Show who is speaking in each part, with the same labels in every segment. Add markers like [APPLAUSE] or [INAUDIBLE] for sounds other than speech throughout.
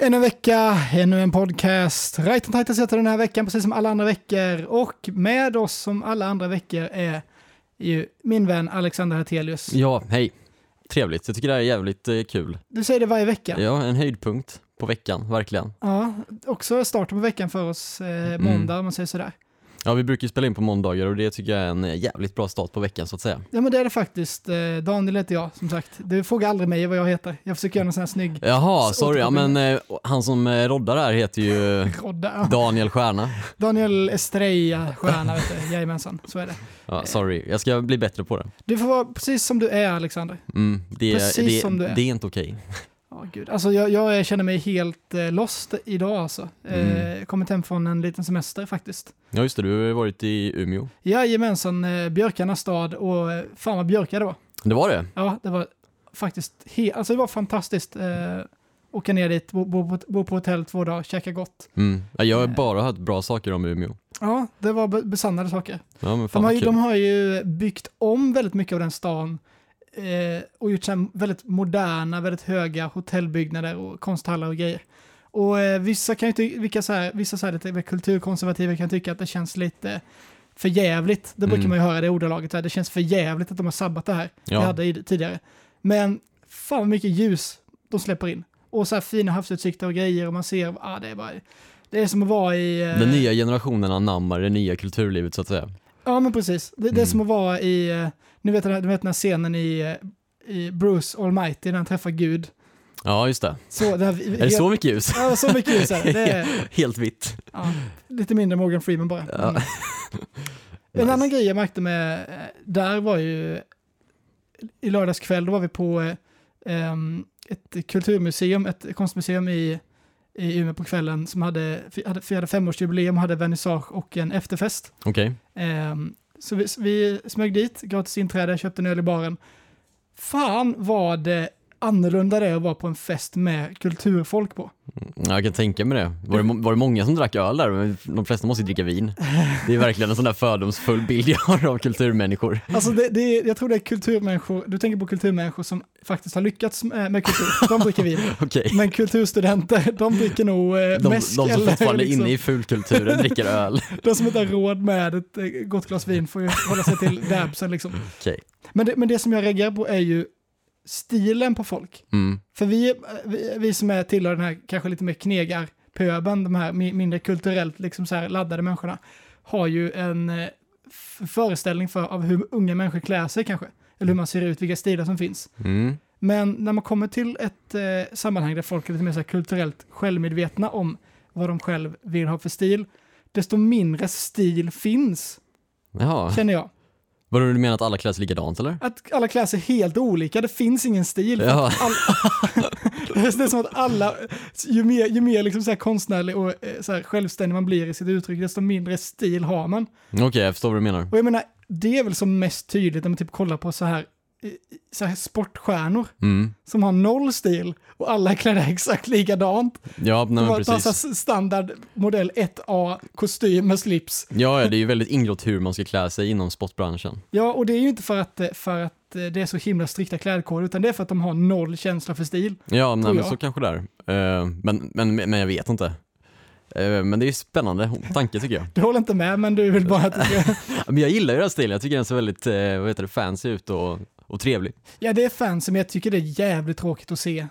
Speaker 1: Ännu en vecka, ännu en podcast. Right on Titans heter den här veckan, precis som alla andra veckor. Och med oss som alla andra veckor är ju min vän Alexander Hartelius.
Speaker 2: Ja, hej. Trevligt. Jag tycker det här är jävligt eh, kul.
Speaker 1: Du säger det varje vecka.
Speaker 2: Ja. en höjdpunkt på veckan, verkligen.
Speaker 1: Ja, också starten på veckan för oss,
Speaker 2: Mm.
Speaker 1: eh, måndag om man säger sådär.
Speaker 2: Ja, vi brukar ju spela in på måndagar och det tycker jag är en eh, jävligt bra start på veckan så att säga.
Speaker 1: Ja men det är det faktiskt. Eh, Daniel heter jag som sagt. Du frågar aldrig mig vad jag heter. Jag försöker göra någon sån här snygg
Speaker 2: Jaha,
Speaker 1: Så
Speaker 2: sorry. Ja,
Speaker 1: återkommer.
Speaker 2: men eh, han som eh, roddar här heter ju eh,
Speaker 1: rodda.
Speaker 2: Daniel Stjärna.
Speaker 1: Daniel Estrella Stjärna vet du. Jajamensan, så är det. [LAUGHS]
Speaker 2: Ja, sorry, jag ska bli bättre på det.
Speaker 1: Du får vara precis som du är Alexander.
Speaker 2: Mm, det,
Speaker 1: Precis
Speaker 2: det,
Speaker 1: som du är.
Speaker 2: det är inte okej.
Speaker 1: Ja, gud. Alltså, jag, jag känner mig helt eh, lost idag alltså. Eh, kommit hem från en liten semester faktiskt.
Speaker 2: Ja, just det. Du har ju varit i Umeå.
Speaker 1: Jajamensan, eh, Björkarnas stad och eh, fan vad björkar det var.
Speaker 2: Det var det?
Speaker 1: Ja, det var faktiskt helt, alltså det var fantastiskt. Eh, åka ner dit, bo, bo, bo, på hotell två dagar, käka gott.
Speaker 2: Mm. Ja, Jag har bara hört bra saker om Umeå.
Speaker 1: Ja, det var be- besannade saker.
Speaker 2: Ja, men fan
Speaker 1: De har,
Speaker 2: vad
Speaker 1: ju,
Speaker 2: kul.
Speaker 1: de har ju byggt om väldigt mycket av den stan eh, och gjort så här väldigt moderna, väldigt höga hotellbyggnader och konsthallar och grejer. Och eh, vissa kan ju ty- vilka så här, vissa så här lite mer kulturkonservativa kan tycka att det känns lite för jävligt. Det brukar
Speaker 2: Mm.
Speaker 1: man ju höra det ordalaget, så här, det känns för jävligt att de har sabbat det här. Vi
Speaker 2: Ja.
Speaker 1: hade ju det tidigare. Men fan vad mycket ljus de släpper in. Och så här fina havsutsikter och grejer och man ser, ah, det är bara, det är som att vara i... eh,
Speaker 2: Den nya generationen anammar det nya kulturlivet så att säga.
Speaker 1: Ja, men precis. Det, det är
Speaker 2: Mm.
Speaker 1: som att vara i, eh, ni vet den här, du vet den här scenen i, eh, i Bruce Almighty när han träffar Gud.
Speaker 2: Ja, just det.
Speaker 1: Så, den här,
Speaker 2: Är det så mycket ljus?
Speaker 1: Ja, så mycket ljus
Speaker 2: [LAUGHS]
Speaker 1: är det. det. är-
Speaker 2: Helt vitt.
Speaker 1: Ja, lite mindre Morgan Freeman bara.
Speaker 2: Ja. [LAUGHS]
Speaker 1: Mm. En
Speaker 2: Nice.
Speaker 1: annan grej jag märkte med, eh, där var ju, i lördags kväll, då var vi på eh, ehm, ett kulturmuseum, ett konstmuseum i, i Umeå på kvällen som hade, fi- hade, firade femårsjubileum och hade vernissage och en efterfest.
Speaker 2: Okej.
Speaker 1: Ehm, så vi, så vi smög dit, gratis inträde, köpte en öl i baren. Fan vad det annorlunda det är att vara på en fest med kulturfolk på.
Speaker 2: Ja, Jag kan tänka mig det. Var, det. må- var det många som drack öl där? Men De flesta måste ju dricka vin. Det är verkligen en sån där fördomsfull bild jag har av kulturmänniskor. [LAUGHS]
Speaker 1: Alltså det, det, är- jag tror det är kulturmänniskor, du tänker på kulturmänniskor som faktiskt har lyckats eh, med, med kultur, de dricker
Speaker 2: [LAUGHS]
Speaker 1: vin.
Speaker 2: Okej.
Speaker 1: Men kulturstudenter, de dricker nog eh,
Speaker 2: De, de
Speaker 1: mäsk
Speaker 2: som
Speaker 1: eller
Speaker 2: fortfarande är
Speaker 1: liksom,
Speaker 2: inne i fulkulturen dricker öl.
Speaker 1: de som inte har råd med ett eh, gott glas vin får ju hålla sig till dabsen liksom.
Speaker 2: Okej.
Speaker 1: Men det, men det som jag reagerar på är ju stilen på folk.
Speaker 2: Mm.
Speaker 1: För vi, vi, vi som är tillhör den här kanske lite mer knegarpöben, de här mi- mindre kulturellt liksom så här laddade människorna, har ju en eh, f- föreställning för, av hur unga människor klär sig kanske, eller hur man ser ut, vilka stilar som finns.
Speaker 2: Mm.
Speaker 1: Men när man kommer till ett eh, sammanhang där folk är lite mer så här kulturellt självmedvetna om vad de själv vill ha för stil, desto mindre stil finns,
Speaker 2: Jaha.
Speaker 1: känner jag.
Speaker 2: Vadå, du menar att alla klär sig likadant eller?
Speaker 1: Att alla klär sig helt olika, det finns ingen stil.
Speaker 2: Ja.
Speaker 1: All... [LAUGHS] det är som att alla, ju mer, ju mer liksom så här konstnärlig och eh, så här självständig man blir i sitt uttryck, desto mindre stil har man.
Speaker 2: Okej, jag förstår vad du menar.
Speaker 1: Och jag menar, det är väl som mest tydligt när man typ kollar på så här, eh, så här sportstjärnor
Speaker 2: Mm.
Speaker 1: som har noll stil och alla är klädda exakt likadant.
Speaker 2: Ja, nej, men
Speaker 1: Bara tar så
Speaker 2: precis.
Speaker 1: här standard modell 1A, kostym med slips.
Speaker 2: Ja, ja, det är ju väldigt ingrott hur man ska klä sig inom sportbranschen.
Speaker 1: Ja, och det är ju inte för att, eh, för att eh, det är så himla strikta klädkoder, utan det är för att de har noll känsla för stil.
Speaker 2: Ja, nej, men
Speaker 1: jag.
Speaker 2: så kanske det är. Eh, men, men, men jag vet inte. Eh, men det är ju spännande tanke tycker jag.
Speaker 1: Du håller inte med, men du vill bara att det ska...
Speaker 2: Ja, Men jag gillar ju den här stilen, jag tycker den ser väldigt eh, vad heter det, fancy ut och, och trevlig.
Speaker 1: Ja, det är fancy, men jag tycker det är jävligt tråkigt att se eh,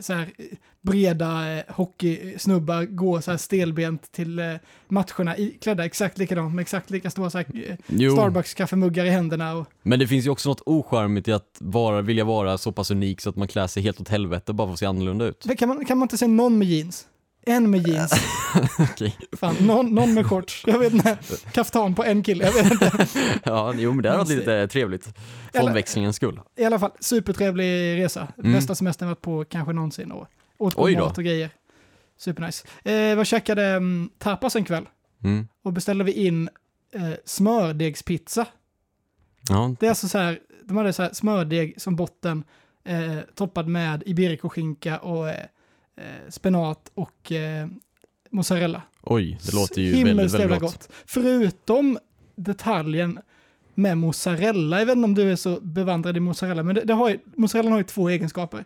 Speaker 1: så här eh, breda eh, hockeysnubbar gå så här stelbent till eh, matcherna i, klädda exakt likadant med exakt lika stora så här, eh,
Speaker 2: Jo,
Speaker 1: Starbucks-kaffemuggar i händerna. Och,
Speaker 2: men det finns ju också något ocharmigt i att vara, vilja vara så pass unik så att man klär sig helt åt helvete bara för att se annorlunda ut.
Speaker 1: Men kan, man, kan man inte se någon med jeans? En med [LAUGHS] jeans,
Speaker 2: Okej.
Speaker 1: fan, någon, någon med shorts, jag vet inte, kaftan på en kille, jag vet [LAUGHS] inte.
Speaker 2: [LAUGHS] Ja, jo men det hade varit lite trevligt. För
Speaker 1: Eller-
Speaker 2: omväxlingens skull.
Speaker 1: I alla fall, supertrevlig resa.
Speaker 2: Mm.
Speaker 1: Bästa semestern jag varit på kanske någonsin. Och åt
Speaker 2: Oj
Speaker 1: god
Speaker 2: då.
Speaker 1: mat och grejer. Supernice. Eh, jag käkade mm, tapas en kväll
Speaker 2: Mm.
Speaker 1: och beställde vi in eh, smördegspizza.
Speaker 2: Ja,
Speaker 1: Det är alltså så här, de hade så här smördeg som botten eh, toppad med iberikoskinka och eh, eh, spenat och eh, mozzarella.
Speaker 2: oj, det låter ju
Speaker 1: Himmelskt
Speaker 2: väldigt,
Speaker 1: jävla
Speaker 2: väldigt gott.
Speaker 1: Förutom detaljen med mozzarella, jag vet inte om du är så bevandrad i mozzarella, men det, det har ju, mozzarella har ju två egenskaper.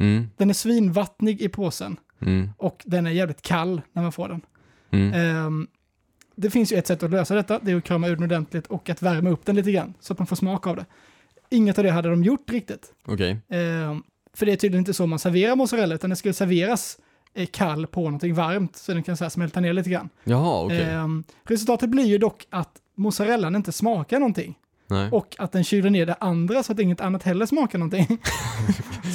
Speaker 2: Mm.
Speaker 1: Den är svinvattnig i påsen
Speaker 2: Mm.
Speaker 1: Och den är jävligt kall när man får den.
Speaker 2: Mm.
Speaker 1: Ehm, det finns ju ett sätt att lösa detta, det är att krama ur den ordentligt och att värma upp den lite grann så att man får smak av det. Inget av det hade de gjort riktigt.
Speaker 2: Okej.
Speaker 1: Ehm, för det är tydligen inte så man serverar mozzarella, utan den ska ju serveras eh, kall på någonting varmt så den kan så här smälta ner lite grann.
Speaker 2: Jaha, okej.
Speaker 1: Ehm, resultatet blir ju dock att mozzarellan inte smakar någonting
Speaker 2: Nej.
Speaker 1: och att den kyler ner det andra så att inget annat heller smakar
Speaker 2: [LAUGHS]
Speaker 1: någonting.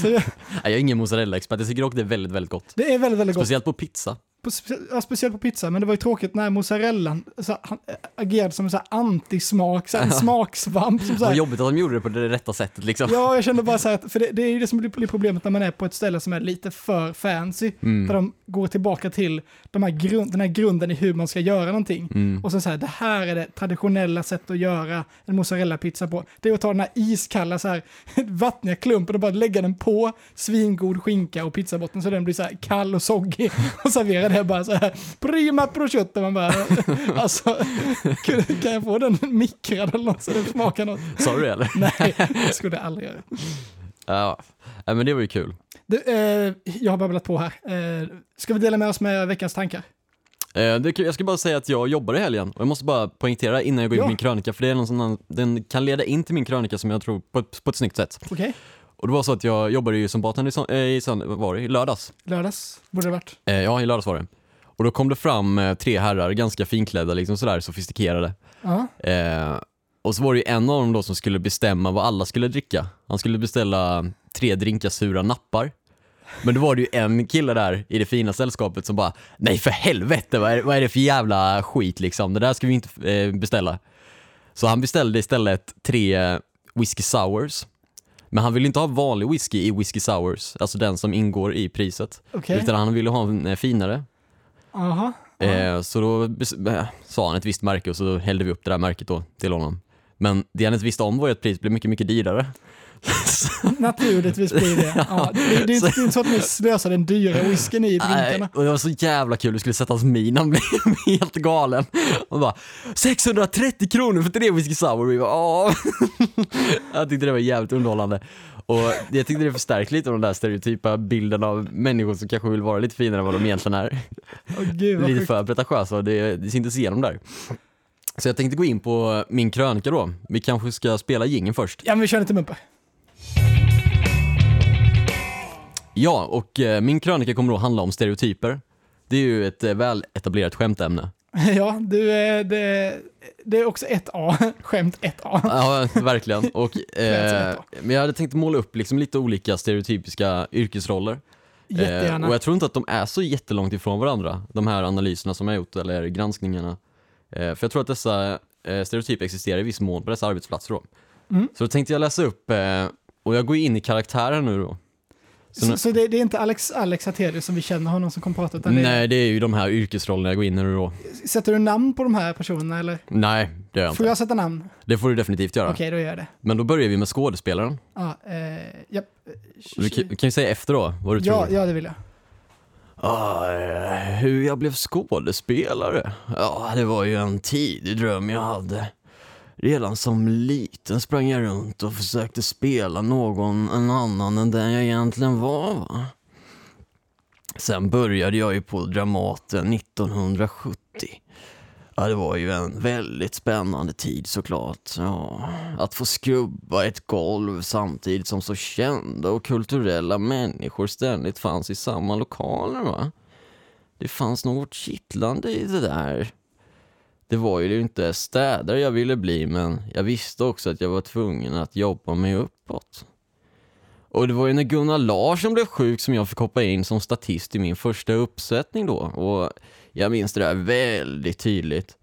Speaker 1: så
Speaker 2: Nej, Jag är ingen mozzarella-expert, jag tycker dock det är väldigt, väldigt gott.
Speaker 1: det är väldigt, väldigt gott.
Speaker 2: Speciellt på pizza.
Speaker 1: På, spe- ja, speciellt på pizza, men det var ju tråkigt när mozzarellan så, här, han, äh, agerade som en så här antismak, så här, en smaksvamp. Som, så
Speaker 2: Vad
Speaker 1: här.
Speaker 2: jobbigt att de gjorde det på det rätta sättet liksom. [LAUGHS]
Speaker 1: Ja, jag kände bara så här, att, för det, det är ju det som blir- blir problemet när man är på ett ställe som är lite för fancy, där de går tillbaka till de här grund, den här grunden i hur man ska göra någonting. Och sen så här, det här är det traditionella sättet att göra en mozzarella-pizza på. Det är att ta den här iskalla, så här, [LAUGHS] vattniga klumpen och bara lägga den på svingod skinka och pizzabotten så den blir så här kall och soggig. [LAUGHS] Och servera det bara så här, prima prosciutto. Man bara, [LAUGHS] alltså, [LAUGHS] kan- kan jag få den mikrad eller något så den smakar något?
Speaker 2: Sa du det eller?
Speaker 1: Nej, det skulle jag aldrig göra.
Speaker 2: Ja, Ja, men det var ju kul.
Speaker 1: Du, eh, jag har babblat på här. Eh, ska vi dela med oss med veckans tankar?
Speaker 2: Eh, Det är kul. Jag ska bara säga att jag jobbar i helgen och jag måste bara poängtera innan jag går in
Speaker 1: Ja.
Speaker 2: på min krönika för det är någon sån, den kan leda in till min krönika som jag tror på ett, på ett snyggt sätt.
Speaker 1: Okej,
Speaker 2: Och det var så att jag jobbade ju som bartender i, sö- eh, i, sön- vad var det, i lördags.
Speaker 1: lördags borde det varit.
Speaker 2: Eh, Ja, i lördags var det. Och då kom det fram eh, tre herrar, ganska finklädda, liksom sådär sofistikerade.
Speaker 1: Ja,
Speaker 2: Eh, och så var det ju en av dem då som skulle bestämma vad alla skulle dricka. Han skulle beställa tre drinkar sura nappar. Men då var det ju en kille där i det fina sällskapet som bara Nej för helvete, vad är, vad är det för jävla skit liksom? Det där ska vi inte eh, beställa. Så han beställde istället tre eh, whisky sours. Men han ville inte ha vanlig whisky i whisky sours, alltså den som ingår i priset.
Speaker 1: okej.
Speaker 2: Utan han ville ha en eh, finare.
Speaker 1: Jaha.
Speaker 2: Eh, så då bes- eh, sa han ett visst märke och så hällde vi upp det där märket då till honom. Men det han inte visste om var ju att priset blev mycket, mycket dyrare.
Speaker 1: Naturligtvis blir
Speaker 2: [LAUGHS]
Speaker 1: det. Ja, det, det, det är inte så att ni slösar den dyra whiskyn i
Speaker 2: Nej,
Speaker 1: drinkarna.
Speaker 2: och det var så jävla kul, du skulle sett hans min, han blev [LAUGHS] helt galen. Han bara 630 kronor för tre whisky sour, vi bara "Åh." [LAUGHS] Jag tyckte det var jävligt underhållande. Och jag tyckte det förstärkte lite av den där stereotypa bilden av människor som kanske vill vara lite finare än vad de egentligen är.
Speaker 1: Åh gud, vad
Speaker 2: lite
Speaker 1: sjukt.
Speaker 2: för pretentiösa och det, det syntes igenom där. Så jag tänkte gå in på min krönika då. Vi kanske ska spela jingeln först.
Speaker 1: Ja, men vi kör lite Mumpe.
Speaker 2: Ja, och eh, min krönika kommer då handla om stereotyper. Det är ju ett eh, väl etablerat skämtämne.
Speaker 1: [LAUGHS] Ja, du, eh, det, det är också ett A. [LAUGHS] Skämt ett A.
Speaker 2: Ja, [LAUGHS] verkligen. Och,
Speaker 1: Lät som
Speaker 2: eh,
Speaker 1: ett A.
Speaker 2: men jag hade tänkt måla upp liksom lite olika stereotypiska yrkesroller. Eh,
Speaker 1: Jättegärna.
Speaker 2: och jag tror inte att de är så jättelångt ifrån varandra, de här analyserna som jag gjort, eller granskningarna. Eh, för jag tror att dessa eh, stereotyper existerar i viss mån på dessa arbetsplatser då.
Speaker 1: Mm.
Speaker 2: Så då tänkte jag läsa upp, eh, och jag går in i karaktären nu då. så nu-
Speaker 1: Så, så det, det är inte Alex, Alex Hatelius som vi känner honom som kommer prata, utan det är,
Speaker 2: Nej, det är ju de här yrkesrollerna jag går in i nu då.
Speaker 1: sätter du namn på de här personerna eller?
Speaker 2: Nej, det gör jag
Speaker 1: Får
Speaker 2: inte.
Speaker 1: jag sätta namn?
Speaker 2: Det får du definitivt göra.
Speaker 1: Okej, då gör jag det.
Speaker 2: Men då börjar vi med skådespelaren.
Speaker 1: Ja, eh, japp.
Speaker 2: Du kan kan ju säga efter då, vad du
Speaker 1: ja,
Speaker 2: tror.
Speaker 1: ja, det vill jag.
Speaker 2: Ah, eh, hur jag blev skådespelare? Ja, det var ju en tidig dröm jag hade. Redan som liten sprang jag runt och försökte spela någon en annan än den jag egentligen var. Va? Sen började jag ju på Dramaten 1970. Ja, det var ju en väldigt spännande tid såklart. Ja, att få skrubba ett golv samtidigt som så kända och kulturella människor ständigt fanns i samma lokaler va. Det fanns något kittlande i det där. Det var ju inte städare jag ville bli men jag visste också att jag var tvungen att jobba mig uppåt. Och det var ju när Gunnar Larsson blev sjuk som jag fick hoppa in som statist i min första uppsättning då. Och jag minns det där väldigt tydligt.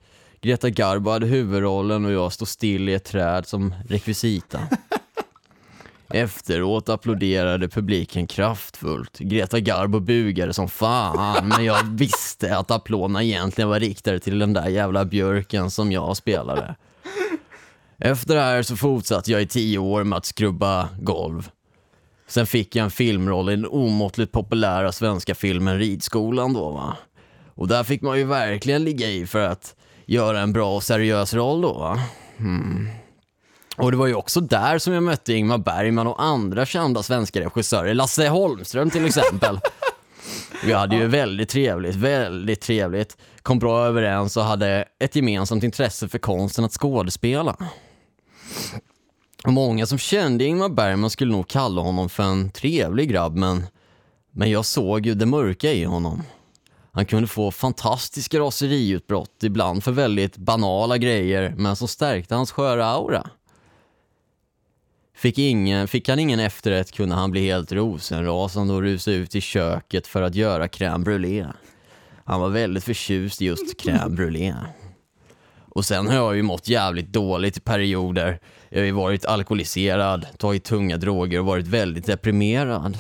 Speaker 2: Greta Garbo hade huvudrollen och jag stod still i ett träd som rekvisita. Efteråt applåderade publiken kraftfullt. Greta Garbo bugade som fan, men jag visste att applåderna egentligen var riktade till den där jävla björken som jag spelade. Efter det här så fortsatte jag i tio år med att skrubba golv. Sen fick jag en filmroll i den omåttligt populära svenska filmen Ridskolan då va. Och där fick man ju verkligen ligga i för att göra en bra och seriös roll då va. Hmm. Och det var ju också där som jag mötte Ingmar Bergman och andra kända svenska regissörer, Lasse Holmström till exempel. Vi hade ju väldigt trevligt, väldigt trevligt. Kom bra överens och hade ett gemensamt intresse för konsten att skådespela. Och Många som kände Ingmar Bergman skulle nog kalla honom för en trevlig grabb, men, men jag såg ju det mörka i honom. Han kunde få fantastiska raseriutbrott, ibland för väldigt banala grejer, men som stärkte hans sköra aura. Fick, ingen, fick han ingen efterrätt kunde han bli helt rosenrasande och rusa ut i köket för att göra crème brûlée. Han var väldigt förtjust i just crème brûlée. Och sen har jag ju mått jävligt dåligt i perioder. Jag har ju varit alkoholiserad, tagit tunga droger och varit väldigt deprimerad.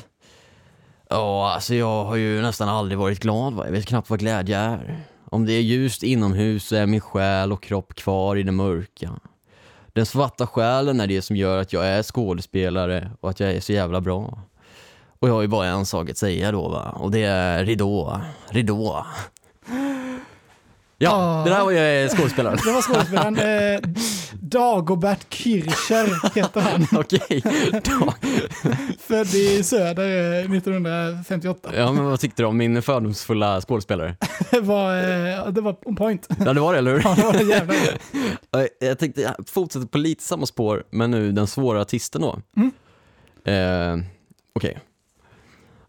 Speaker 2: Ja, alltså jag har ju nästan aldrig varit glad. Va? Jag vet knappt vad glädje är. Om det är ljust inomhus så är min själ och kropp kvar i det mörka. Den svarta själen är det som gör att jag är skådespelare och att jag är så jävla bra. Och jag har ju bara en sak att säga då va, och det är ridå, ridå. Ja,
Speaker 1: Ah.
Speaker 2: det där var jag skådespelaren.
Speaker 1: Det var skådespelaren
Speaker 2: [LAUGHS]
Speaker 1: eh, Dagobert Kircher heter
Speaker 2: [LAUGHS]
Speaker 1: han.
Speaker 2: Okej, då.
Speaker 1: Född i Söder eh, 1958.
Speaker 2: ja men vad tyckte du om min fördomsfulla skådespelare?
Speaker 1: Det var, eh, det var on point.
Speaker 2: [LAUGHS] Ja det var det, eller hur?
Speaker 1: Ja, det var det jävla bra.
Speaker 2: Eh, Jag tänkte jag fortsätter på lite samma spår, men nu den svåra artisten då. Eh, Okej.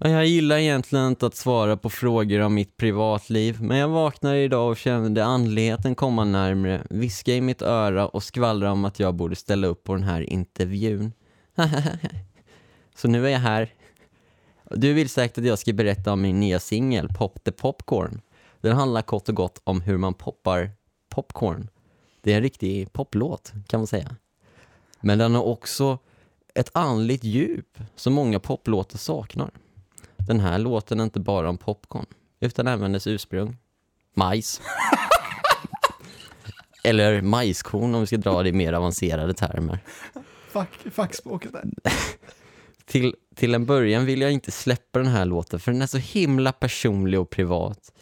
Speaker 2: Ja, Jag gillar egentligen inte att svara på frågor om mitt privatliv, men jag vaknade idag och kände andligheten komma närmre, viska i mitt öra och skvallra om att jag borde ställa upp på den här intervjun. [LAUGHS] Så nu är jag här. Du vill säkert att jag ska berätta om min nya singel, Pop the Popcorn. Den handlar kort och gott om hur man poppar popcorn. Det är en riktig poplåt kan man säga. Men den har också ett andligt djup som många poplåtar saknar. Den här låten är inte bara om popcorn utan även dess ursprung. Majs. Eller majskorn om vi ska dra det i mer avancerade termer.
Speaker 1: Fuck, fackspråket där.
Speaker 2: Till, till en början ville jag inte släppa den här låten för den är så himla personlig och privat.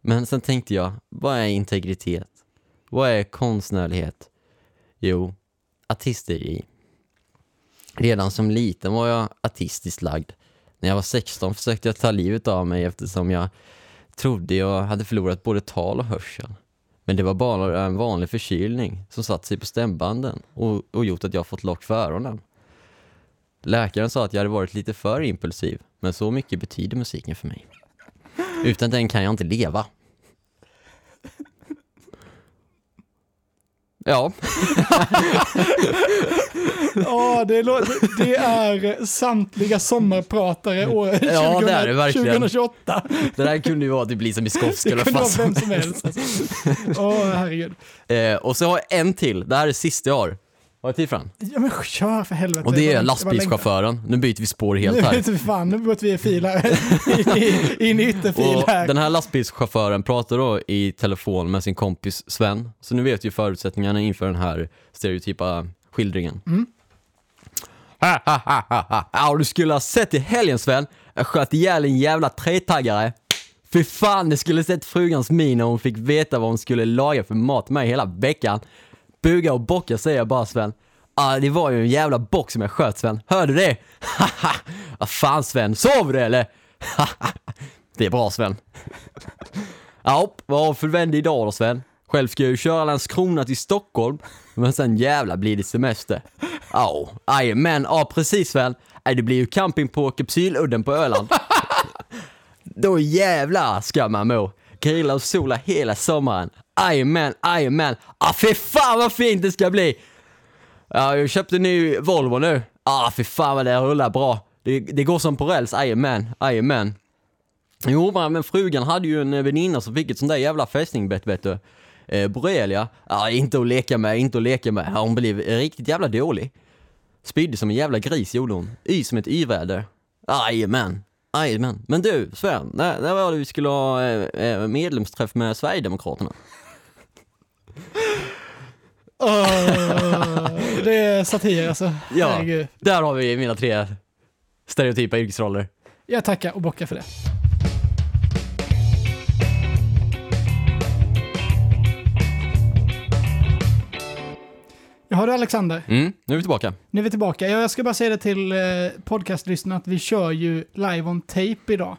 Speaker 2: Men sen tänkte jag, vad är integritet? Vad är konstnärlighet? Jo, artisteri. Redan som liten var jag artistiskt lagd. När jag var 16 försökte jag ta livet av mig eftersom jag trodde jag hade förlorat både tal och hörsel. Men det var bara en vanlig förkylning som satt sig på stämbanden och, och gjort att jag fått lock för öronen. Läkaren sa att jag hade varit lite för impulsiv, men så mycket betyder musiken för mig. Utan den kan jag inte leva. Ja,
Speaker 1: Ja, det, lå- det är samtliga sommarpratare år
Speaker 2: Mm. Ja, det är det
Speaker 1: 2000-
Speaker 2: verkligen.
Speaker 1: 2028.
Speaker 2: det där kunde ju vara typ Lisa Miskovsky
Speaker 1: Det
Speaker 2: eller
Speaker 1: kunde
Speaker 2: vad
Speaker 1: vara
Speaker 2: fan
Speaker 1: vem som helst. alltså. Åh, herregud.
Speaker 2: Eh, och så har jag en till, det här är sista jag har. Har jag tid för den?
Speaker 1: Ja, men kör för helvete.
Speaker 2: Och det är
Speaker 1: Jag bara längtar.
Speaker 2: lastbilschauffören. Nu byter vi spår helt
Speaker 1: Nu
Speaker 2: här.
Speaker 1: vet vi fan, nu går vi i fil
Speaker 2: [LAUGHS]
Speaker 1: här. In i- In i ytterfil
Speaker 2: Och
Speaker 1: här.
Speaker 2: den här lastbilschauffören pratar då i telefon med sin kompis Sven. Så nu vet ju förutsättningarna inför den här stereotypa skildringen. Ha, ha, ha, ha, ha. [LAUGHS] Ja, du skulle ha sett i helgen Sven. Jag sköt ihjäl en jävla tretaggare. Fy fan, du skulle sett frugans min när hon fick veta vad hon skulle laga för mat med hela veckan. Buga och bocka säger jag bara Sven. Ah, det var ju en jävla bock som jag sköt Sven. Hörde du det? [LAUGHS] Haha! Vad fan Sven, sov du eller? [LAUGHS] Haha. det är bra Sven. Ja, vad har för vänd idag då Sven? Själv ska jag ju köra Landskrona till Stockholm, men sen jävla blir det semester. Ja, aj, men ja precis Sven. Aj, det blir ju camping på Kapsyludden på Öland. Då jävlar ska man må. Grilla och sola hela sommaren. Jajamän, jajamän. Ah, fy fan vad fint det ska bli! Ja, jag köpte en ny Volvo nu. Ah, fy fan vad det rullar bra. Det, det går som på räls, jajamän, jajamän. Jo, va, men frugan hade ju en eh, väninna som fick ett sånt där jävla fästingbett, vet du. Eh, borrelia. Ah, inte att leka med, inte att leka med. Ja, Hon blev eh, riktigt jävla dålig. Spydde som en jävla gris gjorde hon. Y som ett y-väder. Jajamän. Jajamän. Men du, Sven. När, när var det vi skulle ha eh, eh, medlemsträff med Sverigedemokraterna?
Speaker 1: Åh, det är satir alltså.
Speaker 2: Ja,
Speaker 1: Herregud.
Speaker 2: där har vi mina tre stereotypa yrkesroller.
Speaker 1: Jag tackar och bockar för det. Jag hörde Alexander,
Speaker 2: Mm, nu är vi tillbaka.
Speaker 1: nu är vi tillbaka. Jag jag ska bara säga det till eh, podcastlyssnarna att vi kör ju live on tape idag.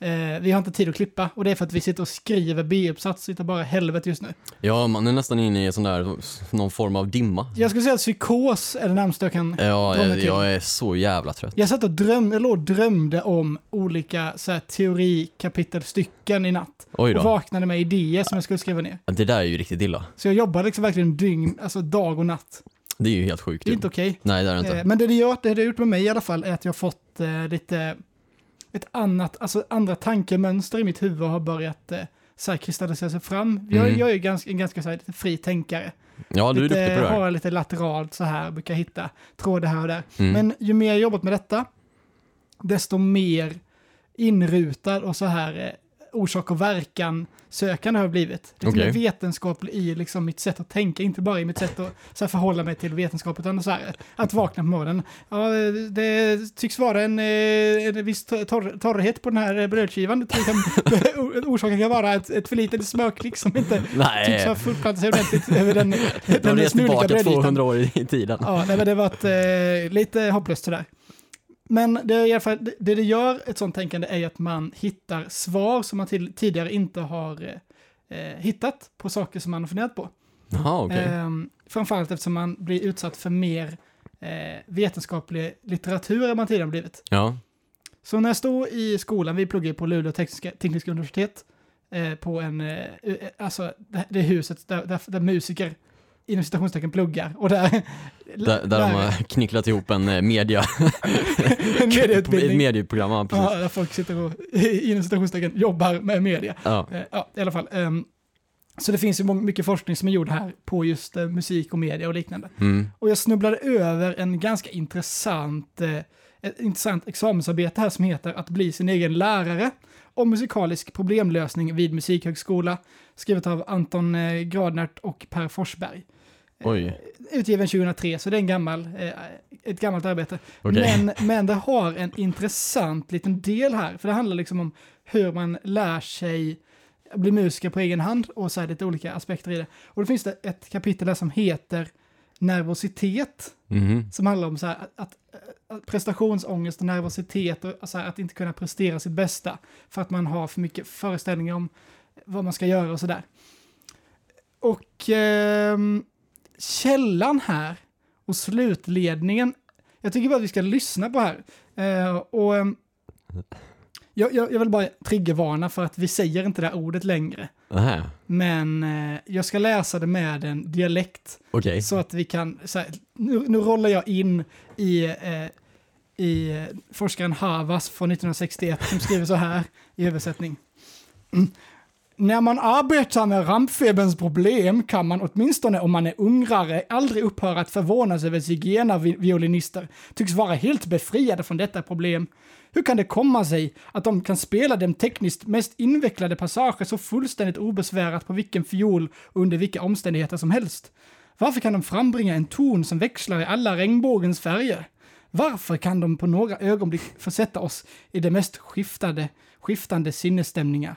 Speaker 1: Eh, vi har inte tid att klippa och det är för att vi sitter och skriver B-uppsats, sitter bara i helvete just nu.
Speaker 2: Ja, man är nästan inne i en sån där, någon form av dimma.
Speaker 1: Jag skulle säga att psykos är det närmaste jag kan
Speaker 2: Ja,
Speaker 1: Kommer
Speaker 2: jag,
Speaker 1: till.
Speaker 2: jag är så jävla trött.
Speaker 1: Jag satt och drömde, jag låg och drömde om olika så här, teorikapitelstycken i natt.
Speaker 2: Oj
Speaker 1: Och
Speaker 2: då.
Speaker 1: vaknade med idéer som jag skulle skriva ner.
Speaker 2: Det där är ju riktigt illa.
Speaker 1: Så jag jobbade liksom verkligen dygn, alltså dag och natt.
Speaker 2: Det är ju helt sjukt.
Speaker 1: Det är
Speaker 2: ju.
Speaker 1: inte okej.
Speaker 2: Nej, det är det inte.
Speaker 1: Eh, Men det det, gör, det det har gjort med mig i alla fall är att jag har fått eh, lite ett annat, alltså andra tankemönster i mitt huvud har börjat eh, så här kristallisera sig fram. Jag,
Speaker 2: Mm.
Speaker 1: jag är ju ganska, en ganska så här, lite fri tänkare.
Speaker 2: Ja, du är
Speaker 1: lite,
Speaker 2: duktig på det här.
Speaker 1: Har lite lateralt så här, brukar hitta trådar här och där.
Speaker 2: Mm.
Speaker 1: Men ju mer jag jobbat med detta, desto mer inrutad och så här eh, orsak och verkan sökande har jag blivit. Det är
Speaker 2: Okej.
Speaker 1: okay. vetenskaplig i liksom mitt sätt att tänka, inte bara i mitt sätt att så här, förhålla mig till vetenskap, utan så här, att vakna på morgonen. Ja, det tycks vara en, eh, en viss torr, torrhet på den här eh, brödskivan. Det kan, or- [LAUGHS] orsaken kan vara ett, ett för litet smörklick som inte tycks ha
Speaker 2: Nej,
Speaker 1: fortplantat sig ordentligt över den,
Speaker 2: du Äh. har
Speaker 1: den
Speaker 2: rest
Speaker 1: snurriga
Speaker 2: tillbaka
Speaker 1: brödytan.
Speaker 2: 200 år i i tiden.
Speaker 1: Ja, nej, men det var ett, eh, lite hopplöst sådär. Men det, är i alla fall, det- det det gör ett sånt tänkande är ju att man hittar svar som man till, tidigare inte har eh, eh, hittat på saker som man har funderat på.
Speaker 2: Jaha, okej.
Speaker 1: Ehm, framförallt eftersom man blir utsatt för mer eh, vetenskaplig litteratur än man tidigare blivit.
Speaker 2: Ja.
Speaker 1: Så när jag stod i skolan, vi pluggade på Luleå tekniska, tekniska universitet, eh, på en, eh, eh, alltså det, det huset där, där, där musiker inom citationstecken pluggar och där,
Speaker 2: Där, där de har knycklat ihop en eh, media,
Speaker 1: [LAUGHS] en [LAUGHS]
Speaker 2: ett
Speaker 1: medieutbildning.
Speaker 2: [LAUGHS] medieprogram. Ja, precis.
Speaker 1: Ja, där folk sitter och [LAUGHS] inom citationstecken jobbar med media.
Speaker 2: Ja.
Speaker 1: Eh, Ja, i alla fall. ehm, Så det finns ju mång- mycket forskning som är gjord här på just eh, musik och media och liknande.
Speaker 2: Mm.
Speaker 1: Och jag snubblade över en ganska intressant, eh, ett intressant examensarbete här som heter Att bli sin egen lärare om musikalisk problemlösning vid musikhögskola, skrivet av Anton eh, Gradnert och Per Forsberg. Eh,
Speaker 2: Oj,
Speaker 1: Utgiven 2003, så det är en gammal, eh, ett gammalt arbete.
Speaker 2: okej.
Speaker 1: Men, men det har en intressant liten del här, för det handlar liksom om hur man lär sig bli musiker på egen hand och så här lite olika aspekter i det. Och då finns det ett kapitel där som heter nervositet,
Speaker 2: Mhm.
Speaker 1: som handlar om så här att, att, att prestationsångest och nervositet och så här att inte kunna prestera sitt bästa för att man har för mycket föreställningar om vad man ska göra och sådär. Och ehm, källan här och slutledningen, jag tycker bara att vi ska lyssna på här. Eh, och ehm, jag, jag, jag vill bara triggervarna för att vi säger inte det här ordet längre.
Speaker 2: Nähä.
Speaker 1: Men eh, jag ska läsa det med en dialekt
Speaker 2: Okej.
Speaker 1: så att vi kan, så här, nu, nu rollar jag in i, eh, i eh, forskaren Havas från 1961 som skriver så här i översättning. [CLEARS THROAT] Mm. När man arbetar med rampfeberns problem kan man åtminstone om man är ungrare aldrig upphöra att förvånas över sigena vi- violinister tycks vara helt befriade från detta problem. Hur kan det komma sig att de kan spela dem tekniskt mest invecklade passager så fullständigt obesvärat på vilken fiol och under vilka omständigheter som helst? Varför kan de frambringa en ton som växlar i alla regnbågens färger? Varför kan de på några ögonblick försätta oss i de mest skiftade, skiftande sinnesstämningar?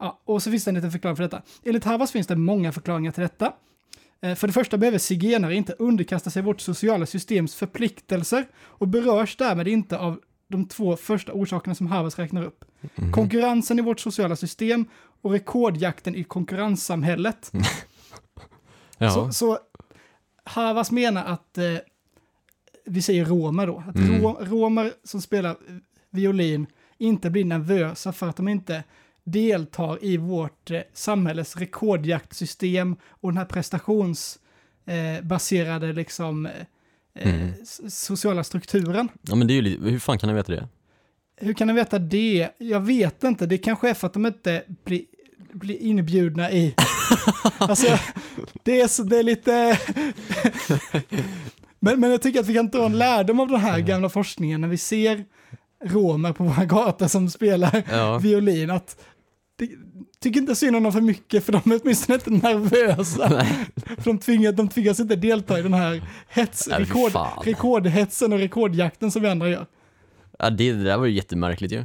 Speaker 1: Ja, och så finns det en liten förklaring för detta. Enligt Havas finns det många förklaringar till detta. Eh, För det första behöver zigenare inte underkasta sig vårt sociala systems förpliktelser och berörs därmed inte av de två första orsakerna som Havas räknar upp. Konkurrensen i vårt sociala system och rekordjakten i konkurrenssamhället.
Speaker 2: Ja.
Speaker 1: Så, så Havas menar att, eh, vi säger romer då, att
Speaker 2: Mm.
Speaker 1: ro, romer som spelar violin inte blir nervösa för att de inte deltar i vårt eh, samhälles rekordjaktsystem och den här prestationsbaserade eh, baserade liksom eh,
Speaker 2: Mm.
Speaker 1: eh, s- sociala strukturen.
Speaker 2: ja, men det är ju li- hur fan kan jag veta det?
Speaker 1: Hur kan de veta det? Jag vet inte. Det kanske är för att de inte blir blir inbjudna
Speaker 2: [LAUGHS]
Speaker 1: i. alltså, det är, så, det är lite... men, men jag tycker att vi kan ta en lärdom av den här gamla forskningen när vi ser romer på våra gator som spelar
Speaker 2: Ja.
Speaker 1: violin. Att, det, tycker inte synd om dem för mycket för de är åtminstone inte nervösa.
Speaker 2: [LAUGHS] Nej.
Speaker 1: För de, tvingas, de tvingas inte delta i den här hets,
Speaker 2: Nej, men fy
Speaker 1: rekord,
Speaker 2: fan.
Speaker 1: rekordhetsen och rekordjakten som vi andra gör.
Speaker 2: Ja, det, det där var ju jättemärkligt ju.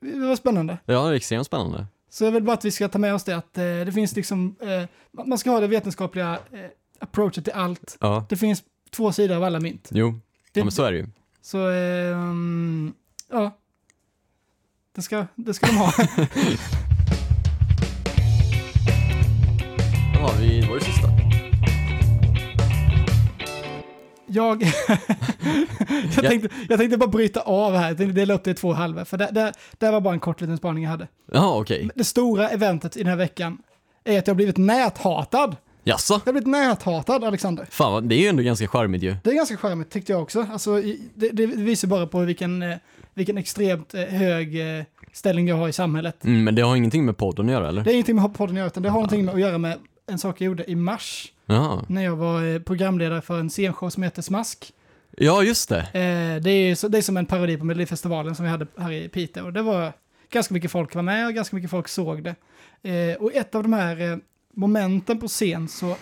Speaker 1: Det var spännande.
Speaker 2: Ja, det var extremt spännande.
Speaker 1: Så jag vill bara att vi ska ta med oss det att eh, det finns liksom, eh, man man ska ha det vetenskapliga eh, approachet till allt.
Speaker 2: Ja.
Speaker 1: Det finns två sidor av alla mynt.
Speaker 2: Jo, ja, men så är det ju.
Speaker 1: Så, ehm, ja. Det ska, det ska de ha. [LAUGHS]
Speaker 2: Ja, vi var det sista.
Speaker 1: Jag, [LAUGHS] jag, tänkte, jag tänkte bara bryta av här, jag tänkte dela upp det i två halvor, för det, det, det var bara en kort liten spaning jag hade.
Speaker 2: Ja, okej.
Speaker 1: Det stora eventet i den här veckan är att jag har blivit näthatad.
Speaker 2: Jaså?
Speaker 1: Jag har blivit näthatad, Alexander.
Speaker 2: Fan, vad- det är ju ändå ganska charmigt ju.
Speaker 1: Det är ganska charmigt tyckte jag också. Alltså, i- det, det visar bara på vilken, eh, vilken extremt eh, hög eh, ställning jag har i samhället.
Speaker 2: Mm, men det har ingenting med podden att göra, eller?
Speaker 1: Det är ingenting med podden att göra, utan det har någonting med att göra med en sak jag gjorde i mars
Speaker 2: Ja.
Speaker 1: när jag var eh, programledare för en scenshow som heter Smask.
Speaker 2: ja, just det.
Speaker 1: Eh, Det är, ju så- det är som en parodi på Melodifestivalen som vi hade här i Piteå. Och det var ganska mycket folk var med och ganska mycket folk såg det. Eh, Och ett av de här eh, momenten på scen så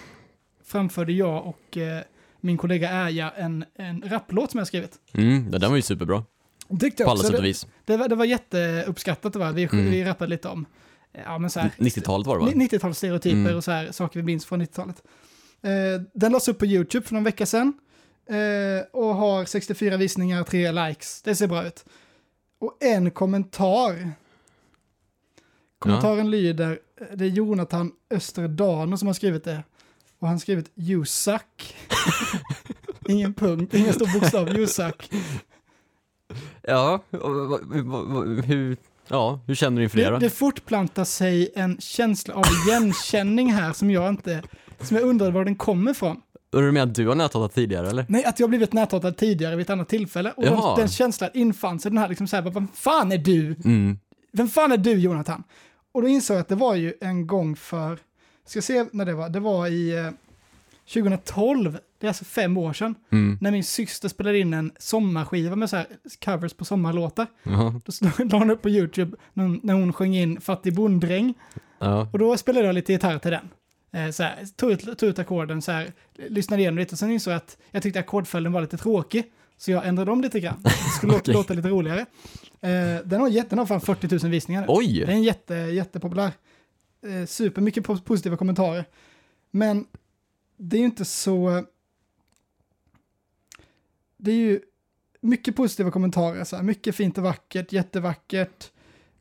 Speaker 1: framförde jag och eh, min kollega Aja en, en rapplåt som jag skrivit.
Speaker 2: Mm, det där var ju superbra.
Speaker 1: Tyckte jag
Speaker 2: På alla
Speaker 1: också.
Speaker 2: sätt och
Speaker 1: Det-
Speaker 2: vis.
Speaker 1: Det var, det var jätteuppskattat det var. Vi,
Speaker 2: Mm.
Speaker 1: vi rappade lite om ja, men så här,
Speaker 2: 90-talet var det, va?
Speaker 1: 90-talsstereotyper
Speaker 2: Mm.
Speaker 1: och så här, saker vi minns från 90-talet. Eh, den lades upp på YouTube för någon vecka sedan eh, och har 64 visningar, 3 likes. Det ser bra ut. Och en kommentar. Kommentaren lyder, eh, det är Jonathan Österdano som har skrivit det. Och han har skrivit You suck. [LAUGHS] ingen punkt, ingen stor bokstav, You suck.
Speaker 2: Ja, och vad- vad- vad- hur, ja, hur känner du inför det
Speaker 1: Det,
Speaker 2: då?
Speaker 1: det fortplantar sig en känsla av igenkänning här som jag inte, som jag undrar var den kommer ifrån.
Speaker 2: Och Du menar att du har näthatat tidigare, eller?
Speaker 1: Nej, att jag blivit näthatad tidigare vid ett annat tillfälle och den,
Speaker 2: Jaha.
Speaker 1: den känslan infann sig, den här liksom så här, vem fan är du?
Speaker 2: Mm.
Speaker 1: Vem fan är du Jonathan? Och då insåg jag att det var ju en gång för, ska se när det var, det var i eh, 2012, det är alltså fem år sedan,
Speaker 2: Mm.
Speaker 1: när min syster spelade in en sommarskiva med så här covers på sommarlåtar.
Speaker 2: Jaha.
Speaker 1: Då stod- la hon upp på YouTube när hon- när hon sjöng in Fattig bonddräng.
Speaker 2: Ja.
Speaker 1: Och då spelade jag lite gitarr till den. Eh, så här, tog, ut, tog ut ackorden, så här, lyssnade igenom lite och sen insåg jag att jag tyckte ackordföljden var lite tråkig. Så jag ändrade om lite grann. Det skulle låta-
Speaker 2: [LAUGHS] Okej.
Speaker 1: låta lite roligare. Eh, den har jätte, den har fan 40 000 visningar nu.
Speaker 2: Oj!
Speaker 1: Den är jätte, jättepopulär. Eh, super mycket po- positiva kommentarer. Men det är ju inte så... Det är ju mycket positiva kommentarer, så här. mycket fint och vackert, jättevackert.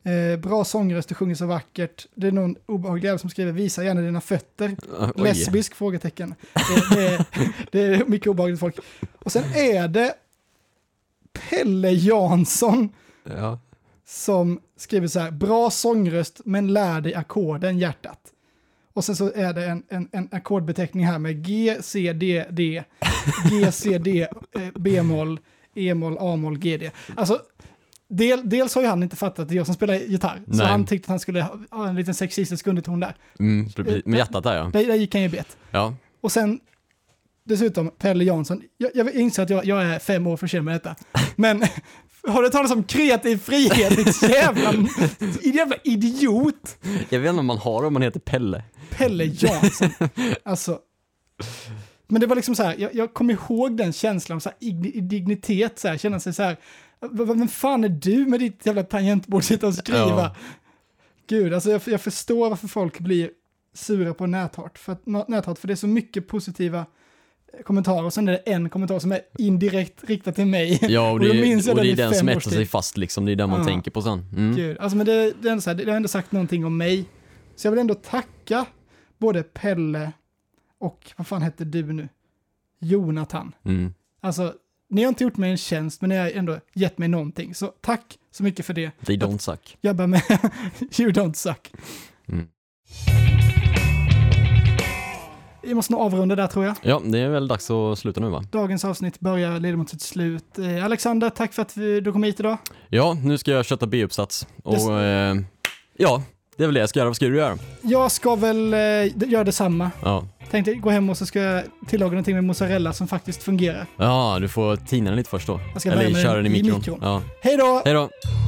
Speaker 1: Eh, bra sångröst, du sjunger så vackert. Det är någon obehaglig jävel som skriver visa gärna dina fötter.
Speaker 2: Oj.
Speaker 1: Lesbisk? frågetecken. Det, det, det är mycket obehagligt folk. Och sen är det Pelle Jansson
Speaker 2: Ja.
Speaker 1: som skriver så här, bra sångröst men lär dig ackorden hjärtat. Och sen så är det en, en, en ackordbeteckning här med G, C, D, D, G, C, D, eh, B-moll, E-moll, A-moll, GD. Alltså, del, dels har ju han inte fattat att det är jag som spelar gitarr, så
Speaker 2: Nej.
Speaker 1: han tyckte att han skulle ha- ha en liten sexistisk underton där.
Speaker 2: Mm, precis. Med hjärtat där, ja.
Speaker 1: Där, där gick han ju bet.
Speaker 2: Ja.
Speaker 1: Och sen, dessutom, Pelle Jansson. Jag, jag inser att jag, jag är fem år för sen med detta. Men [LAUGHS] har du talat om kreativ frihet, ditt jävla, din jävla idiot!
Speaker 2: Jag vet inte om man har om man heter Pelle.
Speaker 1: Pelle
Speaker 2: [LAUGHS]
Speaker 1: Jansson. Alltså. Men det var liksom så här, jag, jag kom ihåg den känslan av så här igni- dignitet, så här, känna sig så här, "V- v- vem fan är du med ditt jävla tangentbord sitta och skriva?
Speaker 2: Ja.
Speaker 1: Gud, alltså jag, jag förstår varför folk blir sura på näthat, för, att, nå- näthat, för det är så mycket positiva kommentarer och sen är det en kommentar som är indirekt riktad till mig.
Speaker 2: Ja, och det,
Speaker 1: då
Speaker 2: är-
Speaker 1: minns jag
Speaker 2: och det
Speaker 1: den i
Speaker 2: är den
Speaker 1: fem
Speaker 2: som
Speaker 1: års
Speaker 2: äter
Speaker 1: tid.
Speaker 2: sig fast liksom, det är den man
Speaker 1: Ja.
Speaker 2: tänker på sen. Mm.
Speaker 1: Gud, alltså men det, det, är ändå så här, det har ändå sagt någonting om mig. Så jag vill ändå tacka både Pelle och, vad fan hette du nu? Jonathan.
Speaker 2: Mm.
Speaker 1: Alltså, ni har inte gjort mig en tjänst, men ni har ändå gett mig någonting. Så tack så mycket för det.
Speaker 2: They don't suck.
Speaker 1: Jag bär med [LAUGHS] You don't suck.
Speaker 2: Mm.
Speaker 1: Vi måste nog avrunda där tror jag.
Speaker 2: Ja, det är väl dags att sluta nu va?
Speaker 1: Dagens avsnitt börjar leda mot sitt slut. Eh, Alexander, tack för att vi- du kom hit idag.
Speaker 2: Ja, nu ska jag köta B-uppsats. Och
Speaker 1: Yes.
Speaker 2: eh, ja, det är väl det jag ska göra. Vad ska du göra?
Speaker 1: Jag ska väl eh, göra detsamma.
Speaker 2: Ja.
Speaker 1: Tänkte gå hem och så ska jag tillaga någonting med mozzarella som faktiskt fungerar.
Speaker 2: ja, du får tina den lite först då.
Speaker 1: Jag ska
Speaker 2: Eller
Speaker 1: värma den
Speaker 2: köra den i
Speaker 1: i
Speaker 2: mikron.
Speaker 1: mikron.
Speaker 2: Ja.
Speaker 1: Hej då!
Speaker 2: Hej då!